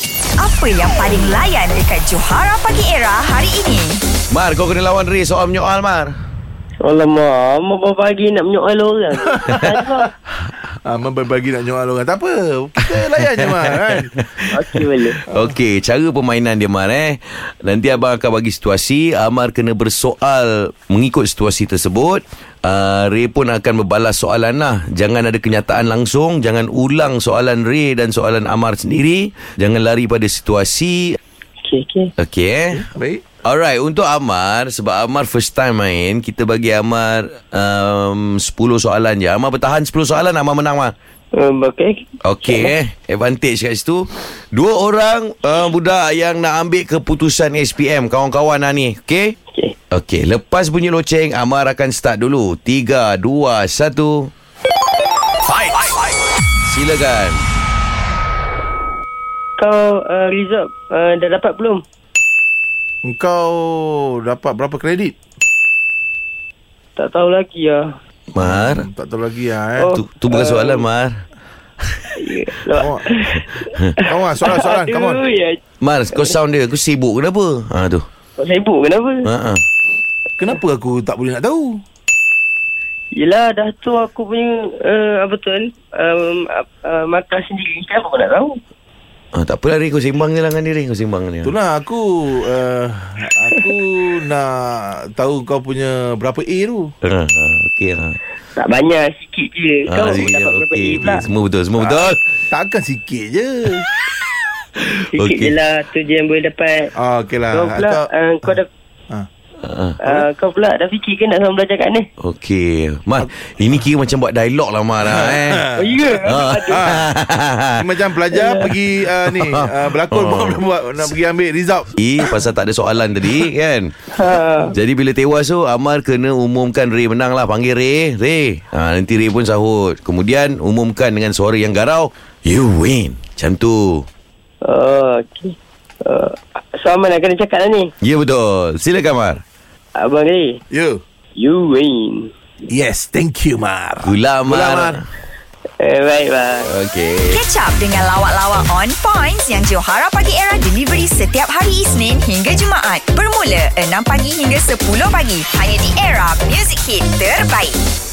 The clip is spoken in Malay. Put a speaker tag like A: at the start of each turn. A: Siapa yang paling layan dekat Johara Pagi Era hari ini?
B: Mar, kau kena lawan Riz soal menyoal, Mar.
C: Alamak, Mak bawa pagi nak menyoal orang.
D: Ah, berbagi nak nyoal orang. Tak apa. Kita layan je Mar kan.
C: Okey boleh.
B: Okey, cara permainan dia, Mar, eh. Nanti abang akan bagi situasi. Ah, Mar kena bersoal mengikut situasi tersebut. Uh, Ray pun akan membalas soalan lah Jangan ada kenyataan langsung Jangan ulang soalan Ray dan soalan Amar sendiri Jangan lari pada situasi
C: Okey, okey.
B: Okey eh
D: Baik.
B: Alright, untuk Amar Sebab Amar first time main Kita bagi Amar um, 10 soalan je Amar bertahan 10 soalan Amar menang Mar
C: Um, okey.
B: Okey eh Advantage kat situ Dua orang uh, Budak yang nak ambil keputusan SPM Kawan-kawan lah ni Okey
C: Okey.
B: Okey Lepas bunyi loceng Amar akan start dulu Tiga Dua Satu Fight Silakan
C: Kau uh, result uh, dah dapat belum?
D: Engkau dapat berapa kredit?
C: Tak tahu lagi lah.
B: Mar
D: Tak tahu lagi lah eh.
C: Oh.
B: Tu, tu bukan soalan Mar
C: Ya.
D: Come on. Come on, soalan-soalan. Come on.
C: Aduh, ya.
B: Mar kau sound dia Kau sibuk kenapa Ha tu
C: Kau sibuk kenapa? Ha?
B: Ha ha
D: Kenapa aku tak boleh nak tahu?
C: Yelah, dah tu aku punya, uh, apa tu, um, uh, makan sendiri. Kenapa kau nak tahu?
B: Ah, tak apalah Ray kau sembang je lah dengan dia Ray kau sembang
C: Ya.
B: dengan dia.
D: Itulah aku uh, aku nak tahu kau punya berapa A tu.
B: Ha, ha, okey ha.
C: Tak banyak, sikit je. Eh, Kau
B: Ah,
C: dapat berapa
B: okey,
C: A
B: okey.
C: pula? Ah.
B: Semua betul, semua betul.
D: Takkan sikit je.
C: Sikit
B: Okey.
C: je lah, tu je yang boleh dapat.
D: Ah, okey lah.
C: Kau pula,
D: Kau-
C: uh, kau dah
D: Ah.
B: Ha.
C: Uh, kau pula dah fikir ke nak sama belajar kat ni?
B: Okey. Mar, ini kira macam buat dialog lah Mar lah, eh.
C: Oh, ya?
B: Ah.
D: Macam pelajar pergi uh, ni uh, berlakon
B: Oh.
D: oh. nak buat nak pergi ambil result.
B: Eh, pasal tak ada soalan tadi kan
C: Ha.
B: Jadi bila tewas tu Amar kena umumkan Ray menang lah Panggil Ray Ray ha, Nanti Ray pun sahut Kemudian umumkan dengan suara yang garau You win Macam tu
C: Oh, okay. Uh, sama nak kena cakap lah ni.
B: Ya betul Silakan Mar
C: Abang ni,
D: Yo.
C: you win.
D: Yes, thank you Mar.
B: Gula Mar,
D: Gula, Mar.
C: Eh, baik, bang.
B: Okey
A: Catch up dengan lawak-lawak on points yang Johara Pagi Era delivery setiap hari Isnin hingga Jumaat. Bermula 6 pagi hingga 10 pagi. Hanya di Era Music Hit Terbaik.